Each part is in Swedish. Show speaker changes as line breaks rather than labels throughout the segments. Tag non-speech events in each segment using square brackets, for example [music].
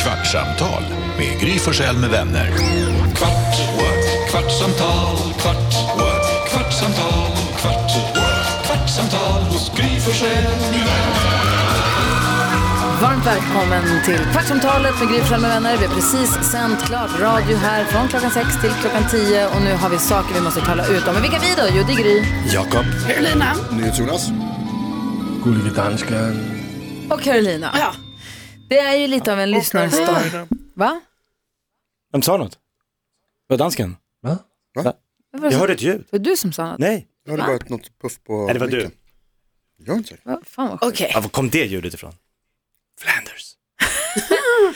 Kvartsamtal med Gry Forssell med vänner. Kvart, what? kvartsamtal, kvart, what? kvartsamtal, kvart, what? kvartsamtal hos Gry Forssell med vänner.
Varmt välkommen till Kvartsamtalet med Gry Forssell med vänner. Vi har precis sänt klart radio här från klockan sex till klockan tio och nu har vi saker vi måste tala ut om. Men vilka vi då? Jo, det är Gry.
Jakob.
Carolina.
NyhetsJonas.
Gullige dansken.
Och Carolina.
Ja.
Det är ju lite av en lyssnarstory. Va?
Vem sa något? Var dansken?
Va?
Det var,
Jag hörde ett ljud.
det var du som sa något.
Nej.
Nu har det varit något puff på
Nej, det var du.
micken. Jag har inte sagt.
Va? Fan vad sjukt.
Okej,
Ja, var kom det ljudet ifrån? Flanders.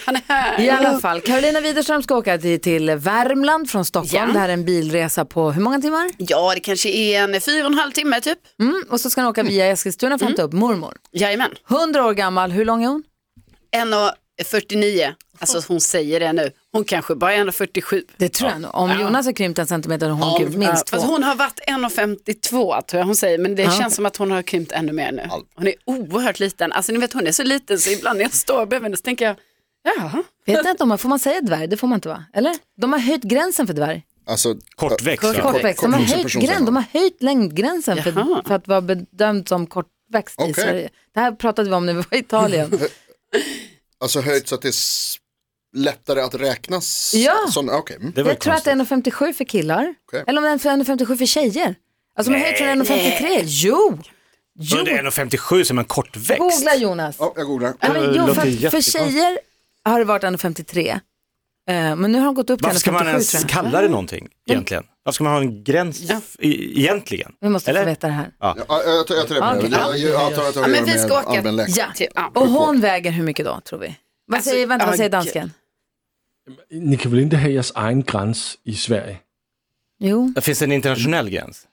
han är här.
I alla fall, Carolina Widerström ska åka till, till Värmland från Stockholm.
Ja.
Det här är en bilresa på hur många timmar?
Ja, det kanske är en fyra och en halv timme typ.
Mm. Och så ska hon åka via Eskilstuna för att hämta upp mormor.
Jajamän.
100 år gammal, hur lång är hon?
1,49. Alltså hon säger det nu. Hon kanske bara är 1,47.
Det tror jag nog. Om Jonas har krympt en centimeter har hon krympt minst två.
Fast Alltså, hon har varit 1,52 tror jag hon säger, men det känns som att hon har krympt ännu mer nu. Hon är oerhört liten. Alltså ni vet hon är så liten så ibland när jag står bredvid henne så tänker jag, jaha.
Vet ni att de har, får man säga dvärg? Det får man inte va? Eller? De har höjt gränsen för dvärg.
Alltså,
Kortväxt. va?
Kort-
Kortväxt. De har
kortvuxen
höjt,
person,
gräns,
säger
de
man.
har höjt längdgränsen för,
Jaha.
för att vara bedömd som kortväxt i
Okej.
Sverige. Det här pratade vi om när vi var i Italien.
alltså höjt så att det är s- lättare att räknas.
Ja.
Sån, okay. mm.
Det var
Jag
ju
tror att det
konstigt.
är 1,57 för killar.
Okej.
Eller om det är 1,57 för tjejer. Alltså de har höjt från 1,53. Jo!
Då
jo.
är det 1,57 som en kortväxt.
Googla Jonas.
Ja, jag googlar.
Ja, men,
Det
jo,
låter
för, för
jättekonstigt.
tjejer har det varit 1,53. Eh, men nu har de gått upp till
Varför ska man
1,57 tror
ens
jag.
kalla det någonting egentligen? Varför ska man ha en gräns i- egentligen?
Mm.
Vi måste
Eller?
få veta det här.
Ja, jag tar, jag tar det med
Okej.
det. Jag, jag antar att det har
Ja,
att
men
göra
vi
med
ska åka. Typ.
allmän läkare.
Ja.
Ja.
Och hon väger hur mycket då tror vi? Vad
Alltså,
säger, vänta, vad säger
ja,
dansken?
Ni kan väl inte ha jeres egen gräns i Sverige?
Jo,
Det finns en internationell gräns.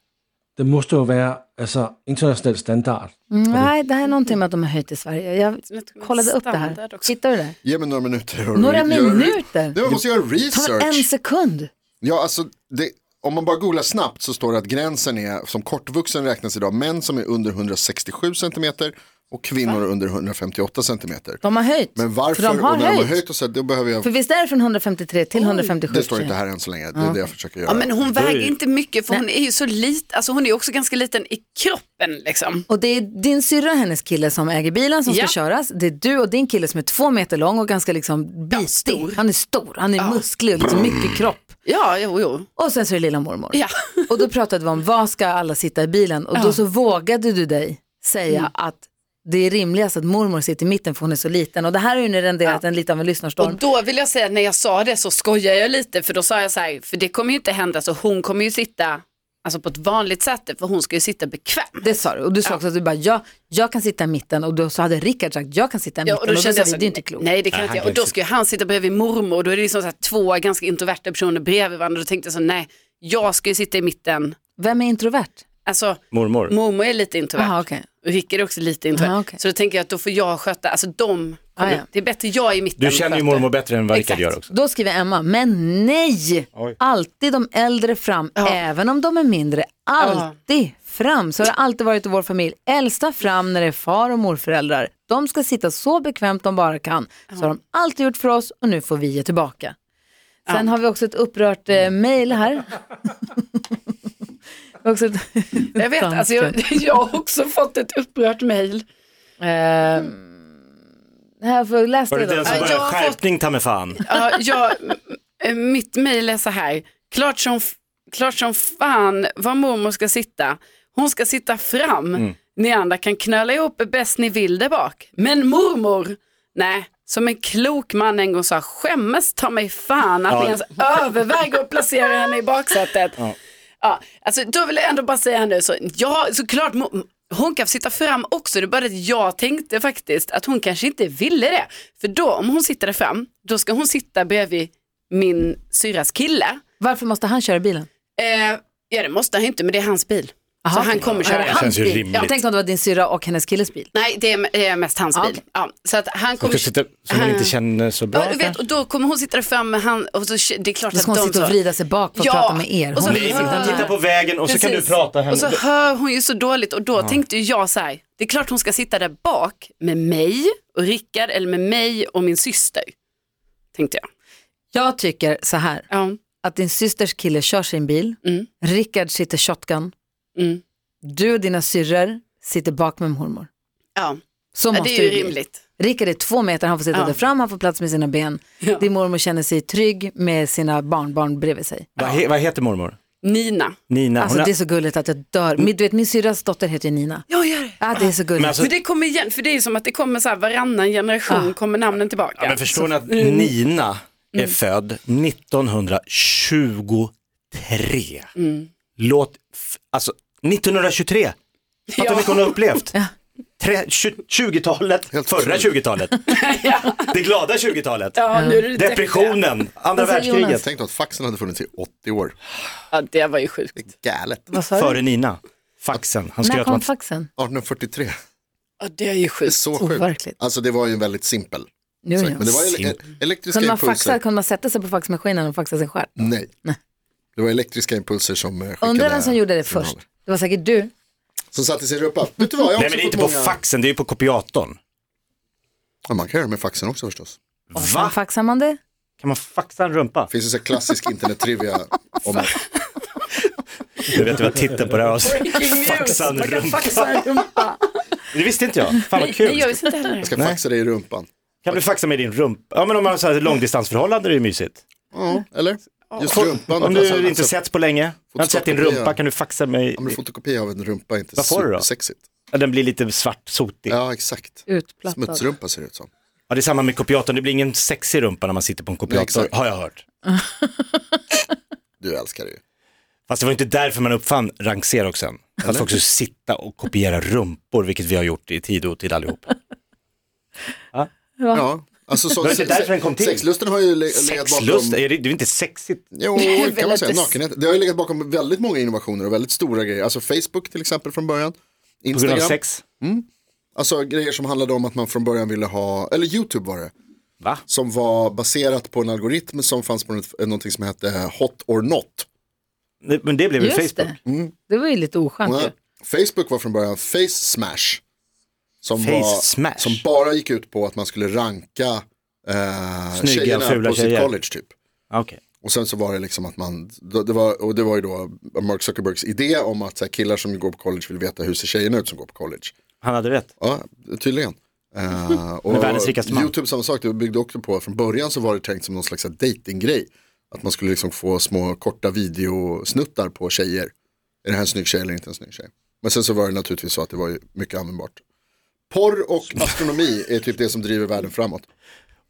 Det måste ju vara alltså, internationell standard.
mm, nej det här är någonting med att de har höjt i Sverige. Jag kollade upp det här.
Standard också.
Hittar du det?
Ge mig några minuter. och
Några
gör-
minuter?
Nej, man måste göra
Tar en
research.
sekund?
Ja, alltså, det, om man bara googlar snabbt så står det att gränsen är, som kortvuxen räknas idag, män som är under 167 centimeter och kvinnor under 158 centimeter.
De har höjt.
Men
För
varför,
de har
och när
höjt.
de har höjt och så, här, då behöver jag,
För visst är det från 153 till 157?
det står inte här än så länge, det är det jag försöker göra.
Ja, men hon väger
ju-
inte mycket för hon är ju så liten, alltså hon är ju också ganska liten i kroppen liksom.
Och det är din syrra och hennes kille som äger bilen som
Ja.
ska köras. Det är du och din kille som är två meter lång och ganska liksom bitig.
stor.
Han är stor, han är musklig och liksom
Mm.
mycket kropp.
Ja, jo, jo.
Och sen så är det lilla mormor.
Ja.
[laughs] Och då pratade vi om vad ska alla sitta i bilen och då så vågade du dig säga
Mm.
att det är rimligast att mormor sitter i mitten för hon är så liten. Och det här har ju nu renderat en lite av en lyssnarstorm.
Och då vill jag säga att när jag sa det så skojade jag lite för då sa jag så här, för det kommer ju inte hända så hon kommer ju sitta alltså på ett vanligt sätt för hon ska ju sitta bekväm.
Det sa du. Och du sa också att du bara, ja, jag kan sitta i mitten. Och då så hade Rickard sagt, jag kan sitta i mitten. och då, sa vi,
så här,
det är inte klokt.
Nej det kan
Nej,
jag inte
han
jag. Och
kan
då
ju
ska ju han sitta bredvid mormor och då är det liksom så här två ganska introverta personer bredvid varandra. Då tänkte jag så nej, jag ska ju sitta i mitten.
Vem är introvert?
Alltså
Mormor.
mormor är lite introvert.
Jaha, okej.
Och Rickard är också lite introvert.
Aha, okej.
Så då tänker jag att då får jag sköta, alltså de, kommer-
Ah, ja.
det är bättre jag i mitten.
Du känner ju
sköter.
mormor bättre än vad Rickard
Exakt.
gör också.
Då skriver Emma, men nej!
Oj.
Alltid de äldre fram, även om de är mindre. Alltid fram. Så har det alltid varit i vår familj. Äldsta fram när det är far och morföräldrar. De ska sitta så bekvämt de bara kan. Så har de alltid gjort för oss och nu får vi ge tillbaka. Sen har vi också ett upprört eh, mejl här. Vi har också ett-
[laughs] Jag vet, alltså jag, [laughs] jag har också fått ett upprört mejl.
Eh, här får jag läsa
Var det
det då.
den som
Ja,
bara,
jag har fått-
skärpning ta mig fan.
Ja, jag, m- mitt mejl är så här. Klart som, f- klart som fan var mormor ska sitta. Hon ska sitta fram. Ni andra kan knöla ihop er bäst ni vill där bak. Men mormor, nej. Som en klok man en gång sa, skämmes ta mig fan att ni ens överväger att placera henne i baksätet. Ja. alltså, då vill jag ändå bara säga nu, så, ja, såklart mo- hon kan sitta fram också, det är bara det att jag tänkte faktiskt att hon kanske inte ville det. För då, om hon sitter där fram, då ska hon sitta bredvid min syrras kille.
Varför måste han köra bilen?
Eh, ja, det måste han ju inte, men det är hans bil.
Aha,
så han
okej.
kommer köra
Är det
den.
hans
Känns ju
bil?
rimligt.
Jag tänkte om det var din syra och hennes killes bil.
Nej, det är, det är mest hans
Ah,
bil.
okej.
Ja, så att han
Som
kommer...
hon inte känner så bra
Ja, du vet, och då kommer hon sitta där fram med han och så, det är klart
Då ska hon
att de
sitta och
så-
vrida sig bak för att
Ja,
prata med er.
och så-
Hon
Nej, men hon tittar på vägen och så kan du
Precis.
prata henne.
Och så hör hon ju så dåligt och då tänkte ju jag så här, det är klart hon ska sitta där bak med mig och Rickard eller med mig och min syster. tänkte jag.
Jag tycker så här,
Ja,
att din systers kille kör sin bil,
Mm.
Rickard sitter shotgun,
mm.
du och dina syrror sitter bak med mormor.
ja.
Så
ja
måste
det är
bli.
ju rimligt.
Rickard är två meter, han får sitta
Ja.
där fram, han får plats med sina ben.
Ja.
Din mormor känner sig trygg med sina barnbarn bredvid sig.
Vad, he, vad heter mormor?
Nina.
Nina.
Alltså
hon har-
det är så gulligt att jag dör. Min, du vet min syrras dotter heter ju Nina.
Ja, gör det.
Ja, det är så gulligt.
Men alltså-
För det kommer igen, för det är ju som att det kommer så här varannan generation kommer namnen tillbaka.
Ja, men förstår ni att
Alltså, mm.
Nina är född 1923?
Mm.
Låt, f- alltså 1923, fattar
Ja.
hur mycket hon har upplevt. Tre- tju- 20-talet,
Helt
förra 20-talet,
[laughs] ja.
det glada 20-talet,
ja, nu är det det deppiga.
depressionen, andra
Vad säger
världskriget,
Tänk då att faxen hade funnits i 80 år.
Ja, det var ju sjukt.
Det är galet.
Vad sa du?
före Nina, faxen. Han
När
skröt om
kom
att
faxen?
1843.
Ja, det är ju
Det är
sjukt.
så sjukt.
Overkligt.
Alltså det var ju väldigt simpel.
Nu,
sak, Men det
nu.
var ele-
Simp-
e- elektriska
Kunde man,
impulser.
faxa, kunde man sätta sig på faxmaskinen och faxa sin stjärt?
Nej. Det var elektriska impulser som eh, skickade.
Undrar vem som gjorde det
signaler.
först. Det var säkert du.
Som satt i sin rumpa. Vet du vad, jag har
Nej
också
men det är inte
fått
på
många...
faxen, det är ju på kopiatorn.
Ja, man kan göra det med faxen också förstås.
Och sen
Va?
faxar man det.
Kan man faxa en rumpa?
Det finns ju så här klassisk internettrivia
[laughs]
om att
Du vet vad titeln på det här avsnittet
Breaking news.
Faxa en
Man kan
rumpa.
faxa en rumpa.
Det visste inte jag, fan vad
Nej, jag
kul.
visste inte heller.
jag ska faxa dig i rumpan.
Kan du faxa med din rumpa? Ja men om man har så här långdistansförhållande är det ju mysigt.
Mm.
Ja, eller? Just
Om
rumpan. Alltså,
du inte
alltså,
setts på länge, jag har inte sett din
fotokopia.
rumpa, kan du faxa mig?
Om du fotokopia av en rumpa är inte
Vad får du då?
supersexigt.
Ja, Den blir lite svart, sotig. Ja.
Ja, exakt.
Utplattad.
Smutsrumpa ser det ut som.
det är samma med kopiatorn, det blir ingen sexig rumpa när man sitter på en
Nej,
kopiator,
exakt.
har jag hört.
Du älskar det ju.
Fast det var inte därför man uppfann rangseroxen. Att folk skulle sitta och kopiera rumpor, vilket vi har gjort i tid och otid
[laughs]
allihop.
Ja, alltså så,
Det var inte därför den kom till.
Sexlusten har ju le- legat bakom,
Sexlust, är det, det är inte sexigt.
jo,
är
kan man
väl
säga,
inte-
nakenhet. Det har ju legat bakom väldigt många innovationer och väldigt stora grejer. Alltså Facebook till exempel från början.
På grund av
Instagram,
sex.
alltså grejer som handlade om att man från början ville ha, eller YouTube var det,
Va?
som var baserat på en algoritm som fanns på något, någonting som hette Hot or Not.
Nej, Men det blev väl
Just
Facebook?
det. Det var ju lite oskönt ju.
Nej, Mm. Facebook var från början Face Smash. Som,
Face
var,
Smash?
som bara gick ut på att man skulle ranka eh,
Snygga,
tjejerna
fula
på
tjejer.
sitt college typ.
Ah, Okej.
Och sen så var det liksom att man, då- det var, och det var ju då Mark Zuckerbergs idé om att så här, killar som går på college vill veta hur ser tjejerna ut som går på college.
Han hade rätt.
Ja, tydligen.
[laughs]
Eh, och
Men världens rikaste man.
YouTube samma sak, det byggde också på, från början så var det tänkt som någon slags så här datinggrej. Att man skulle liksom få små korta videosnuttar på tjejer. Är det här en snygg tjej eller inte en snygg tjej? Men sen så var det naturligtvis så att det var ju mycket användbart. Porr och astronomi är typ det som driver världen framåt.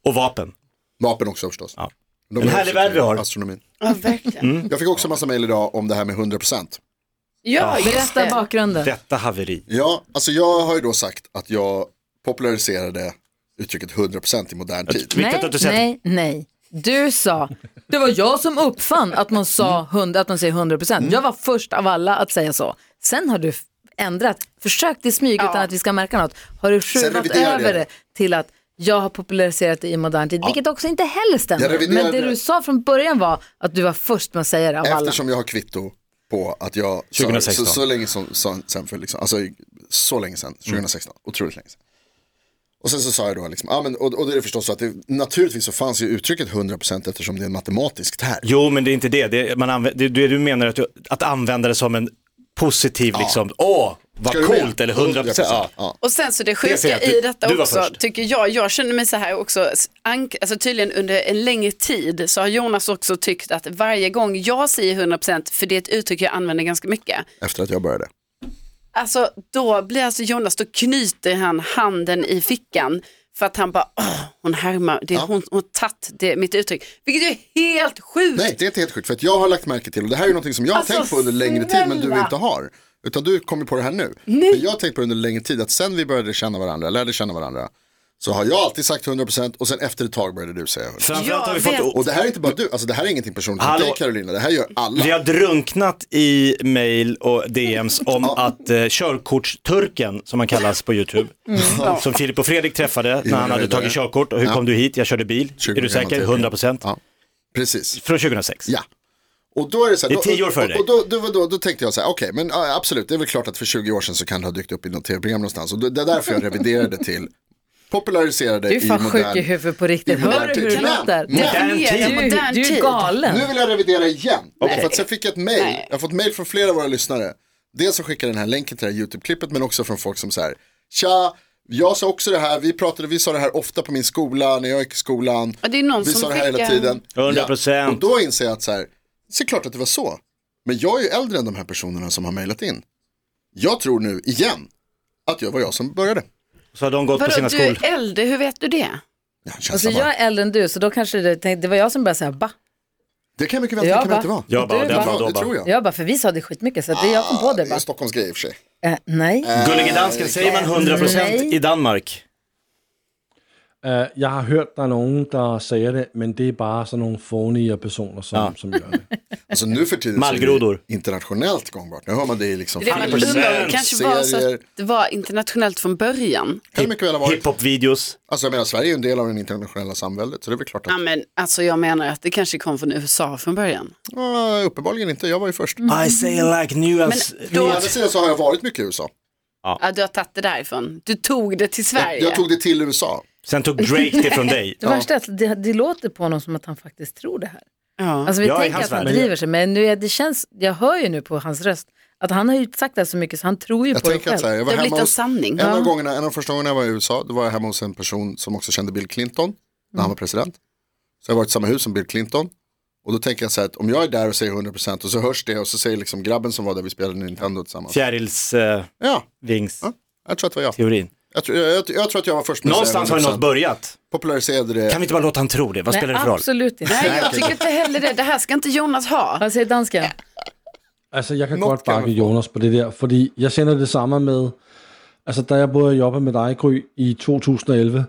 Och vapen.
Vapen också förstås.
Ja.
De
En
är
härlig
också
värld vi har.
Astronomin.
Ja, verkligen.
Jag fick också massa mejl idag om det här med 100%.
Mm.
Ja, just
Berätta
det.
bakgrunden.
Detta haveri.
Ja, alltså jag har ju då sagt att jag populariserade uttrycket 100% i modern tid.
Viktigt
Nej,
att du säger att
nej, nej. Du sa, det var jag som uppfann att man, sa 100, att man säger 100 procent. Jag var först av alla att säga så. Sen har du f- ändrat, försökt i smyg utan att vi ska märka något. Har du skruvat
reviderade jag
över
det.
det till att jag har populariserat det i modern tid, vilket också inte heller
Jag
stämmer. Men
reviderade
det
det.
du sa från början var att du var först med att säga det av alla.
Eftersom jag har kvitto på att jag, sa-
2016.
Så, så länge som, så, sen för liksom, alltså så länge sen, 2016, otroligt länge sen. Och sen så sa jag då, liksom, ja, men, och, och det är förstås så att det, naturligtvis så fanns ju uttrycket 100% eftersom det är en matematisk term.
Jo, men det är inte det. det, är- man använder, det, det du menar är att, du, att använda det som en positiv, liksom, åh, vad
Ska du med?
coolt, eller 100 procent. Ja.
Ja.
Och sen så det
Det säger
sjuka
jag att du-
i detta
du var
också,
först.
tycker jag, jag känner mig så här också, s- ank- alltså tydligen under en längre tid så har Jonas också tyckt att varje gång jag säger 100% för det är ett uttryck jag använder ganska mycket,
Efter att jag började.
alltså då blir alltså Jonas, då knyter han handen i fickan för att han bara, åh, hon härmar, det, hon hon har tagit det- mitt uttryck, vilket är helt sjukt.
Nej, det är inte helt sjukt. För att jag har lagt märke till, och det här är ju någonting som jag har
Alltså,
tänkt på under längre tid, men du
snälla.
inte har. Utan du kommer på det här nu. Men jag har tänkt på det under längre tid, att sen vi började känna varandra, lärde känna varandra, så har jag alltid sagt 100% och sen efter ett tag började du säga 100%.
Framförallt har vi
Jag
fått,
Och det här är inte bara du, alltså det här är ingenting personligt mot
Hallå.
dig Carolina, det här gör alla.
vi har drunknat i mail och DMs om att eh, körkortsturken, som han kallas på
[laughs]
YouTube,
Mm,
som Filip och Fredrik träffade när han
det
hade
där.
tagit körkort. Och hur kom du hit? Jag körde bil.
20
Är du
gammal
säker?
turken.
100 procent.
Ja. Precis,
Från 2006.
ja. Och då är det så här,
Det är tio år före dig.
och, och då, då, då, då tänkte jag så här, okej, men ja, absolut, det är väl klart att för 20 år sedan så kan det ha dykt upp i något tv-program någonstans. Och det det är därför jag reviderade till popularisera dig
Du är
i
fan sjuk i
modern.
huvudet på riktigt.
i modern
Hör du hur
tid.
det låter?
Men-
Modern
Definiera
tid.
Du,
modern
du är
tid.
galen.
Nu vill jag revidera igen. För att sen fick jag ett mail.
Nej.
Jag har fått mail från flera av våra lyssnare. Dels som skickade den här länken till det här YouTube-klippet men också från folk som så här. Tja, jag sa också det här, vi pratade, vi sa det här ofta på min skola, när jag gick i skolan.
Ja, det är någon
vi
som
sa det här hela
skickar en-
tiden.
100%.
Ja. Och då inser jag att så här, det är klart att det var så. Men jag är ju äldre än de här personerna som har mailat in. Jag tror nu igen att jag var jag som började.
Så har de gått på
Vadå,
sina
du är
skolor.
äldre, hur vet du det?
Ja,
Alltså
känslan
jag
bara.
är äldre än du så då kanske det, tänk- det var jag som började säga ba.
Det kan mycket väl det
Jag
kan
bara-
inte vara.
Jag bara,
Du
den
bara-
var då
det tror
bara.
jag.
Jag bara, för vi sa det skitmycket så att det jag kom på det
det är
bara.
en Stockholmsgrej i och för sig.
Eh, nej,
Gullige dansken, säger man 100%
Nej.
i Danmark?
Øh, jeg har hørt, der er nogen, der sagde det, men det er bare sådan nogle fornige personer, som, som gør det.
Alltså nu för tiden så är
Mallgrodor.
det internationellt gångbart. Nu hör man det i liksom
Det är väl
100%.
undrar, det kanske var så
serier.
att det var internationellt från början.
Kan det mycket väl ha varit.
Hiphop-videos.
Alltså jag menar Sverige är ju en del av det internationella samväldet så det är väl klart att,
Ja, men, alltså, jag menar att det kanske kom från USA från början.
ja, uppenbarligen inte, jag var ju först.
Mm.
I say I like new as...
då-
Å andra sidan så har jag varit mycket i USA.
Ja, du har tagit det därifrån. Du tog det till Sverige.
Jag, jag tog det till USA.
Sen tog Drake det
[laughs]
från dig.
det värsta är att det, det låter på honom som att han faktiskt tror det här.
ja.
Alltså vi
Ja, i
tänker
hans
att han
värld.
driver sig men nu är, det känns, jag hör ju nu på hans röst att han har ju sagt det här så mycket så han tror ju
Jag
på det
tänker att så här,
själv.
jag
det
var
har blivit
hemma
en
hos,
sanning.
en, av gångerna, en av de första gångerna jag var i USA, då var jag hemma hos en person som också kände Bill Clinton när han var president. Så jag har varit i samma hus som Bill Clinton. Och då tänker jag så här att om jag är där och säger 100% och så hörs det och så säger liksom grabben som var där vi spelade Nintendo tillsammans.
Fjärilsvingsteorin.
Ja, jag tror att det var jag. Jag tror, jag, jag, jag tror att jag var först med att
Någonstans
säga
har ju
100%.
något börjat.
Populariserade det.
Kan vi inte bara låta han tro det? Vad spelar det för roll?
absolut inte.
Nej, jag tycker inte heller det. Det här ska inte Jonas ha.
Vad säger dansken?
Altså, jeg kan
Nok
godt
kan
bakke
man få.
Jonas på det der, fordi jeg sender det samme med, altså da jeg både jobbede med dig, Gry, i 2011,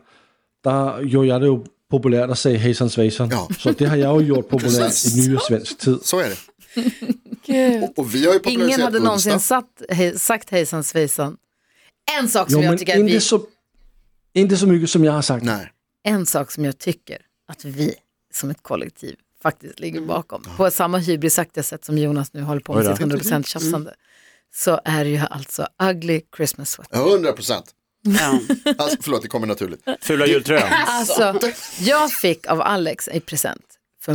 der gjorde jeg det jo populært at sige Hasan Svejson.
Ja.
Så det har jeg jo gjort populært
Præcis.
i nyere svensk tid.
Så
[laughs]
är det. och, och vi har ju populariserat
Ingen hade någonsin
onsdag.
satt, he, sagt hejsan svejsan. En sak som
Jo,
jag
men
tycker att vi
inte så, inte så mycket som jeg har sagt.
Nej,
en sak som jag tycker att vi som ett kollektiv faktiskt ligger bakom. På samma hybrisaktiga sätt som Jonas nu håller på med
Oj då.
sitt 100% tjafsande. Så är det ju alltså ugly Christmas sweater.
100 procent.
Ja.
Alltså, förlåt, det kommer naturligt.
Fula jultröjan.
[laughs] Alltså, jag fick av Alex i present för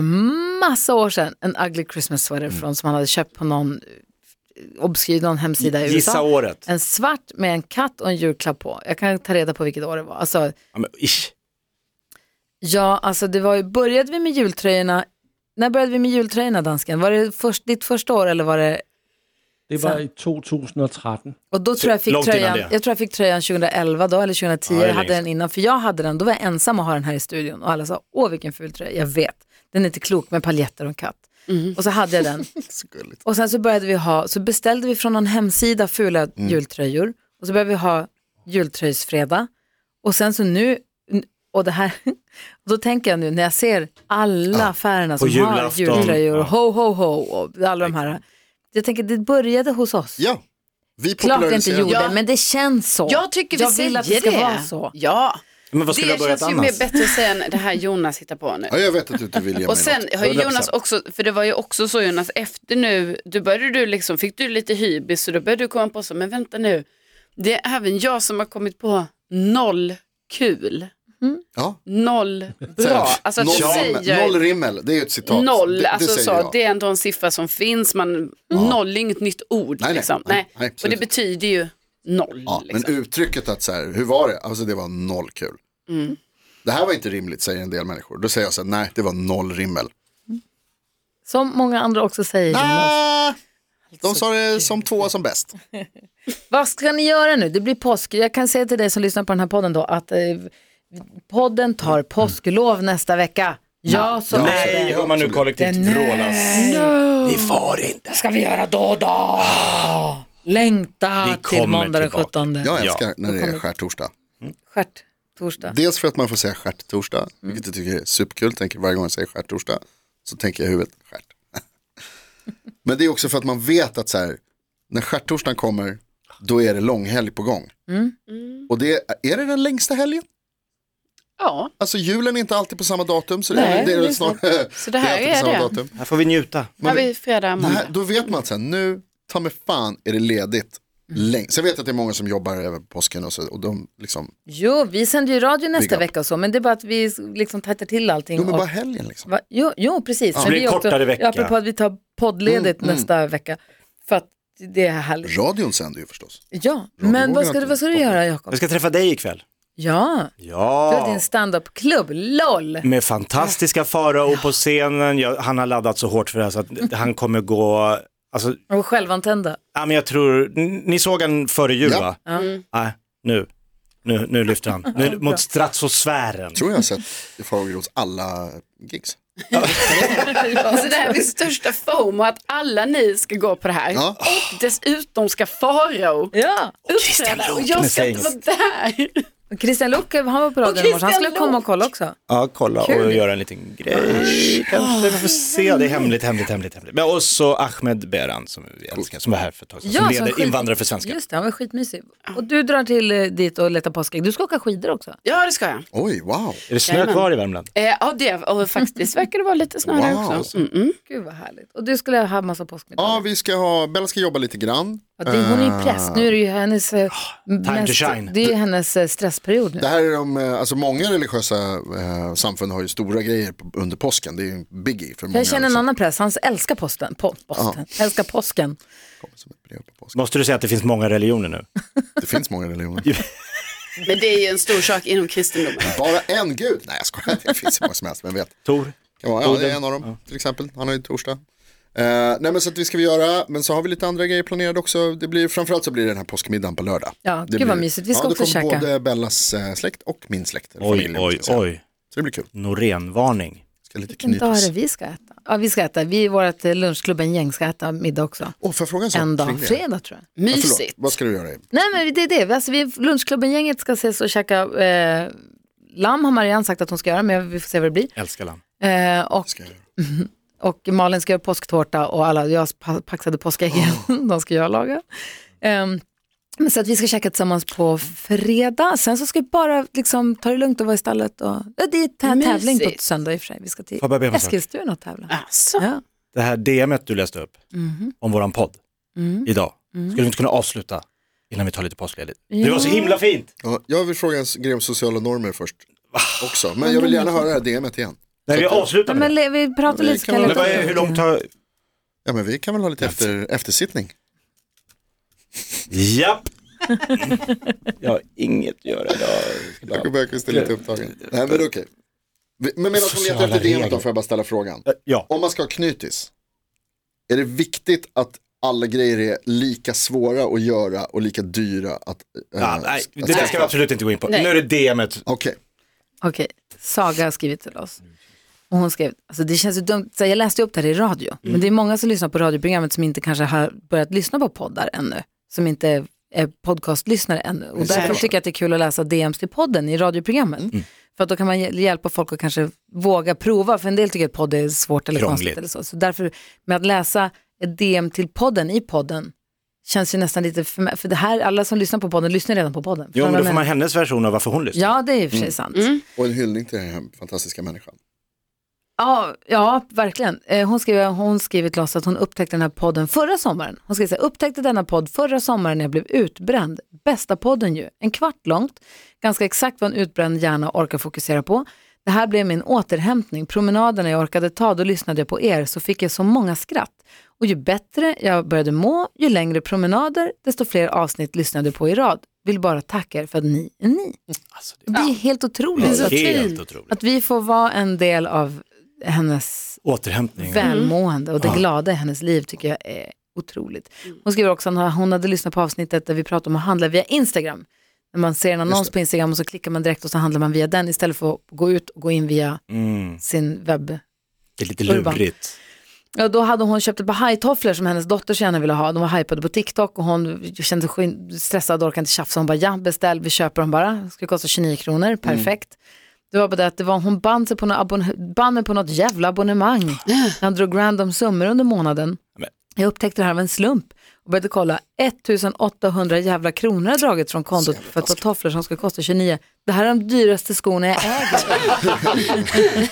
massa år sedan en ugly Christmas sweater
Mm.
från, som han hade köpt på någon eh, obskyr någon hemsida i
Gissa
USA.
året.
En svart med en katt och en julklapp på. Jag kan ta reda på vilket år det var. Alltså,
Ja, men, ish.
Ja, alltså det var ju, började vi med jultröjorna, när började vi med jultröjorna dansken? Var det först, ditt första år eller var det,
Det var i 2013.
och då tror jag fick
Långt innan
tröjan,
det.
jag tror jag fick tröjan 2011 då eller 2010,
Ja, det är
jag hade
länge
den innan, för jag hade den, då var jag ensam och ha den här i studion och alla sa, åh vilken ful tröja, jag vet, den är inte klok med paljetter och en katt. Och så hade jag den,
Mm. [laughs] Så gulligt.
och sen så började vi ha, så beställde vi från någon hemsida fula
Mm.
jultröjor och så började vi ha jultröjsfredag och sen så nu, och det här, [laughs] och då tänker jag nu när jag ser alla affärerna som har
julafton.
jultröjor,
Ja.
ho ho ho och alla de här, jag tänker det började hos oss.
Ja, vi
Klart det inte
populariserade
gjorde,
Ja.
men det känns så.
Jag tycker vi
jag
säger
vill att det ska
det.
vara så.
Ja,
men vad
det
skulle ha börjat
känns ju mer
annars?
bättre att säga än det här Jonas hittar på nu.
Ja, jag vet att du inte vill ge mig
Och sen
något.
har ju
100%.
Jonas också, för det var ju också så Jonas, efter nu, då började du liksom, fick du lite hybris och då började du komma på så, men vänta nu, det är även jag som har kommit på noll kul,
Ja.
noll bra. Alltså att
noll,
du säger
noll rimmel, det är ju ett citat.
noll,
det, det
alltså
säger
så,
jag.
det är ändå en siffra som finns, man, noll är inget nytt ord
Nej, nej,
liksom.
nej, nej,
och det
absolut.
betyder ju noll.
ja,
liksom.
Men uttrycket att så här, hur var det? Alltså det var noll kul.
Mm.
Det här var inte rimligt säger en del människor. Då säger jag så här, nej det var noll rimmel.
Som många andra också säger. Jonas.
Ah,
Alltså,
de sa det som tvåa som bäst.
Vad ska ni göra nu? Det blir påsk. Jag kan säga till dig som lyssnar på den här podden då att eh, podden tar påsklov nästa vecka. Ja, så är det.
Nej, hör man nu kollektivt vrålas. Ni far inte.
ska vi göra då då? Längta
Vi
till
kommer
måndag den
tillbaka.
17.
Jag
Ja.
älskar när det är skärtorsdag.
Stjärt, torsdag.
Dels för att man får säga stjärttorsdag,
Mm.
vilket jag tycker är superkul. Tänker varje gång jag säger stjärttorsdag så tänker jag i huvudet stjärt. [laughs] Men det är också för att man vet att så här, när stjärttorsdagen kommer, då är det långhelg på gång.
Mm.
Och det är det den längsta helgen?
ja,
Alltså julen är inte alltid på samma datum, så det,
Nej,
[laughs] det är
det är
väl snarare.
Så det här
alltid
är
på samma
det.
datum.
Här får vi njuta.
här har vi fredag,
[laughs] Det här,
måndag.
då vet man att så här, nu, ta mig fan är det ledigt.
Mm.
länge. Sen vet jag att det är många som jobbar över påsken och så. Och de liksom,
Jo, vi sänder ju radio nästa
up.
vecka och så, men det är bara att vi liksom tätar till allting.
jo men
och-
bara helgen liksom.
Va? Jo, jo, precis.
Så det blir
vi
kortare vecka. Mm,
Ja, apropå att vi tar poddledigt nästa vecka. För att det är härligt.
Radion sänder ju förstås.
Ja,
Radiovågen
men vad ska,
har
du,
inte
vad ska du göra Jakob?
Jag ska träffa dig ikväll.
Ja, du har
Ja.
din standup-klubb, LOL.
Med fantastiska Farao på scenen. Jag, han har laddat så hårt för det här så att han kommer gå... Alltså,
Och självantända.
ja, men jag tror... n- Ni såg han före jul
Ja.
va? Nej, nu. Nu, nu lyfter han. Nu, mot stratosfären.
Tror jag har sett i Farao Groths alla gigs.
Eh.
Alltså det här är min största fomo, att alla ni ska gå på det här.
Ja.
Och dessutom ska Farao
Ja,
uppträda och jag ska inte vara där.
och Christian Luuk han var på radion i morse, han
Christian
skulle komma och
Luuk.
kolla också.
Ja, kolla och göra en liten grej. Kanske Ah, vi får se. Det är hemligt, hemligt, hemligt. hemligt. Men och så Ahmed Beran som vi älskar, som var här för ett tag sedan, som
som
leder
skit-
Invandrare för svenskar.
Just det, han var skitmysig. Och du drar till eh, dit och letar påskägg. Du ska åka skidor också.
Ja det ska jag.
Oj, wow.
Är det snö kvar i Värmland?
Eh, ja det, och faktiskt verkar det vara lite snö där
Wow.
också. Mm -mm.
Gud vad härligt. Och du skulle ha massa påskmiddagar.
Ja, vi ska ha, Bella ska jobba lite grann.
Ja, det, hon är ju press. Nu är det ju hennes, eh,
Ah, time to
mest,
shine.
det är ju hennes eh, stressperiod nu.
Det här är de, eh, alltså många religiösa eh, samfund har ju stora grejer på, under påsken. Det är ju en biggie för många.
Jag känner en
liksom.
annan press, han älskar posten. Po posten. Älskar påsken.
Kommer som ett brev på påsken.
Måste du säga att det finns många religioner nu?
Det finns många religioner.
[laughs]
Men det är ju en stor sak inom kristendomen.
Bara en gud? Nej jag skojar, det finns hur många som helst, vem vet.
Tor?
Kan vara, ja, det är en av dem till exempel, han har ju torsdag. Eh, nej men så att vi ska vi göra, men så har vi lite andra grejer planerade också. Det blir, framförallt så blir det den här påskmiddagen på lördag.
Ja,
det
gud
blir-
vad mysigt. Vi ska
ja, då
också
kommer
käka.
både Bellas eh, släkt och min släkt. eller
Oj,
familj, om man
oj,
ska säga.
oj.
Så det blir kul.
Norenvarning.
Ska lite
Vilken dag är
knytas.
det vi ska äta? Ja, vi ska äta. Vi i vårt eh, lunchklubben-gäng ska äta middag också.
Åh, får jag fråga en sak?
En
kring
dag,
det?
fredag tror jag.
Ja, förlåt.
Mysigt.
Vad ska du göra?
Nej men det är det, alltså, vi, lunchklubben-gänget ska ses och käka eh, lamm har Marianne sagt att hon ska göra, men vi får se vad det blir.
Älskar lamm.
Eh, och,
Ska jag göra?
och Malin ska göra påsktårta och alla, jag pa- paxade påskäggen, [laughs] de ska jag laga. Ehm, men så att vi ska käka tillsammans på fredag, sen så ska vi bara liksom, ta det lugnt och vara i stallet. Och, ja, det är tä- tävling på
Mysigt.
söndag i och för sig, vi ska till
Får jag bara be om en sak?
Eskilstuna och tävla.
Alltså.
Ja.
Det här DMet du läste upp om våran podd idag, skulle vi inte kunna avsluta innan vi tar lite påskledigt? Det var så himla fint!
Ja, jag vill fråga en s- grej om sociala normer först. Också, men jag vill gärna höra det här DMet igen.
Nej, vi avslutar
Ja,
med
men
det.
le- vi pratar
Men
lite så
kan
kan jag
man-
Men
leta
vad
upp
är,
det.
hur långt har...
Ja men vi kan väl ha lite efter, eftersittning.
Japp! Jag har inget att göra idag.
Jakob Bergqvist är lite upptagen. Nej men okej. Vi- Men medan hon letar
Sociala
efter DMet
regler.
då får jag bara ställa frågan.
Ja.
Om man ska ha knytis, är det viktigt att alla grejer är lika svåra att göra och lika dyra att... eh,
Ja, nej,
att
det där ska
skaffa?
vi absolut inte gå in på.
Nej.
Nu är det DMet.
Okej,
Okej, Saga har skrivit till oss. Och hon skrev, alltså det känns ju dumt, så här, jag läste ju upp det här i radio, men
Mm.
det är många som lyssnar på radioprogrammet som inte kanske har börjat lyssna på poddar ännu, som inte är podcastlyssnare ännu. Och därför tycker jag att det är kul att läsa DMs till podden i radioprogrammet.
Mm.
För att då kan man hj- hjälpa folk att kanske våga prova, för en del tycker att podd är svårt eller
Krångligt.
konstigt. Eller så. så därför, med att läsa ett DM till podden i podden, känns ju nästan lite, för, mig- för det här, alla som lyssnar på podden lyssnar redan på podden.
Jo,
För
men
alla
då får man Mm.
män-
hennes version av varför hon lyssnar.
Ja, det är i och för sig sant.
och en hyllning till den här fantastiska människan.
Ja, ja verkligen. Eh, Hon skriver, hon skriver till oss att hon upptäckte den här podden förra sommaren. Hon skriver så här, upptäckte denna podd förra sommaren när jag blev utbränd. Bästa podden ju. En kvart långt. Ganska exakt vad en utbränd hjärna orkar fokusera på. Det här blev min återhämtning. Promenaderna jag orkade ta, då lyssnade jag på er så fick jag så många skratt. Och ju bättre jag började må, ju längre promenader, desto fler avsnitt lyssnade jag på i rad. Vill bara tacka er för att ni är ni. det, är helt otroligt.
så
Helt
fint.
otroligt.
Att vi får vara en del av hennes
Återhämtning.
välmående och det glada i hennes liv tycker jag är otroligt. Hon skriver också att hon hade lyssnat på avsnittet där vi pratade om att handla via Instagram. När man ser en annons på Instagram och så klickar man direkt och så handlar man via den istället för att gå ut och gå in via
Mm.
sin webb.
Det är lite
Urban.
lurigt.
Ja, då hade hon köpt ett par hajtofflor som hennes dotter så gärna ville ha. De var hypade på TikTok och hon kände sig stressad och orkade inte tjafsa. Hon bara, ja beställ, vi köper dem bara. Det skulle kosta 29 kronor, perfekt. Det var bara det att det var, hon band sig på något, abonne- band mig på något jävla abonnemang. Han drog random summor under månaden.
Men-
Jag upptäckte det här av en slump och började kolla, 1800 jävla kronor har dragits från kontot för att få tofflor som ska kosta 29. Det här är de dyraste skorna jag äger.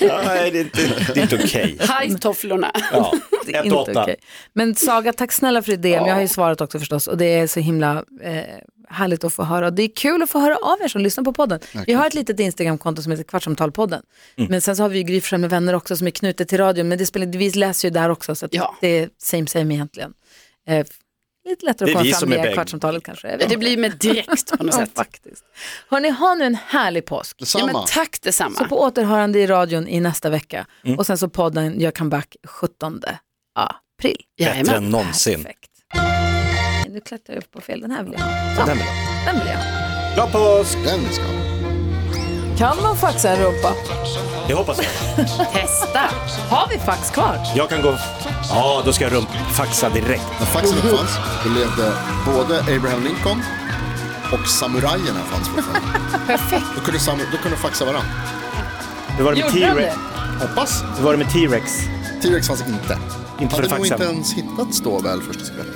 Nej, det är inte, det är inte okej.
Hajtofflorna.
Ja,
Det är
ett och åtta.
okej. Men Saga, tack snälla för ditt DM. Jag har ju svarat också förstås och det är så himla eh, härligt att få höra. Och det är kul att få höra av er som lyssnar på podden. Vi har ett litet Instagramkonto som heter Kvartsamtalpodden.
Mm.
Men sen så har vi ju Gry Forssell med vänner också som är knutet till radion. Men det spelar, vi läser ju där också så att
Ja.
det är same same egentligen. Eh, lite lättare
Det
att
är
komma
vi
fram
som är
via
bägge.
Kvartsamtalet kanske. Jag vet
Det
inte.
blir med direkt på något
Ja,
sätt.
faktiskt. Hörni, ha nu en härlig påsk.
Ja,
Detsamma.
men tack
Så
detsamma.
på återhörande i radion i nästa vecka.
Mm.
Och sen så podden Jag kan back 17 april.
Bättre
Jajamän.
än någonsin.
Perfekt. Nu klättrar jag upp på fel. Den här vill jag ha. Så,
Den vill
Den vill jag ha.
Glad påsk!
Den vi ska ha.
Kan man faxa en rumpa?
Det hoppas jag.
Testa.
Har vi fax kvar?
Jag kan gå... Ja, då ska jag rumpfaxa direkt.
När faxen uppfanns, då levde både Abraham Lincoln och samurajerna fanns fortfarande. Perfekt. Då kunde, samu- då kunde de faxa varandra.
Hur var det med
Gjorde han
T-rex?
det?
Hoppas.
Hur var det med T-rex?
T-Rex fanns inte.
Inte för
Hade nog
faxen.
inte ens hittats då väl första sekretariatet.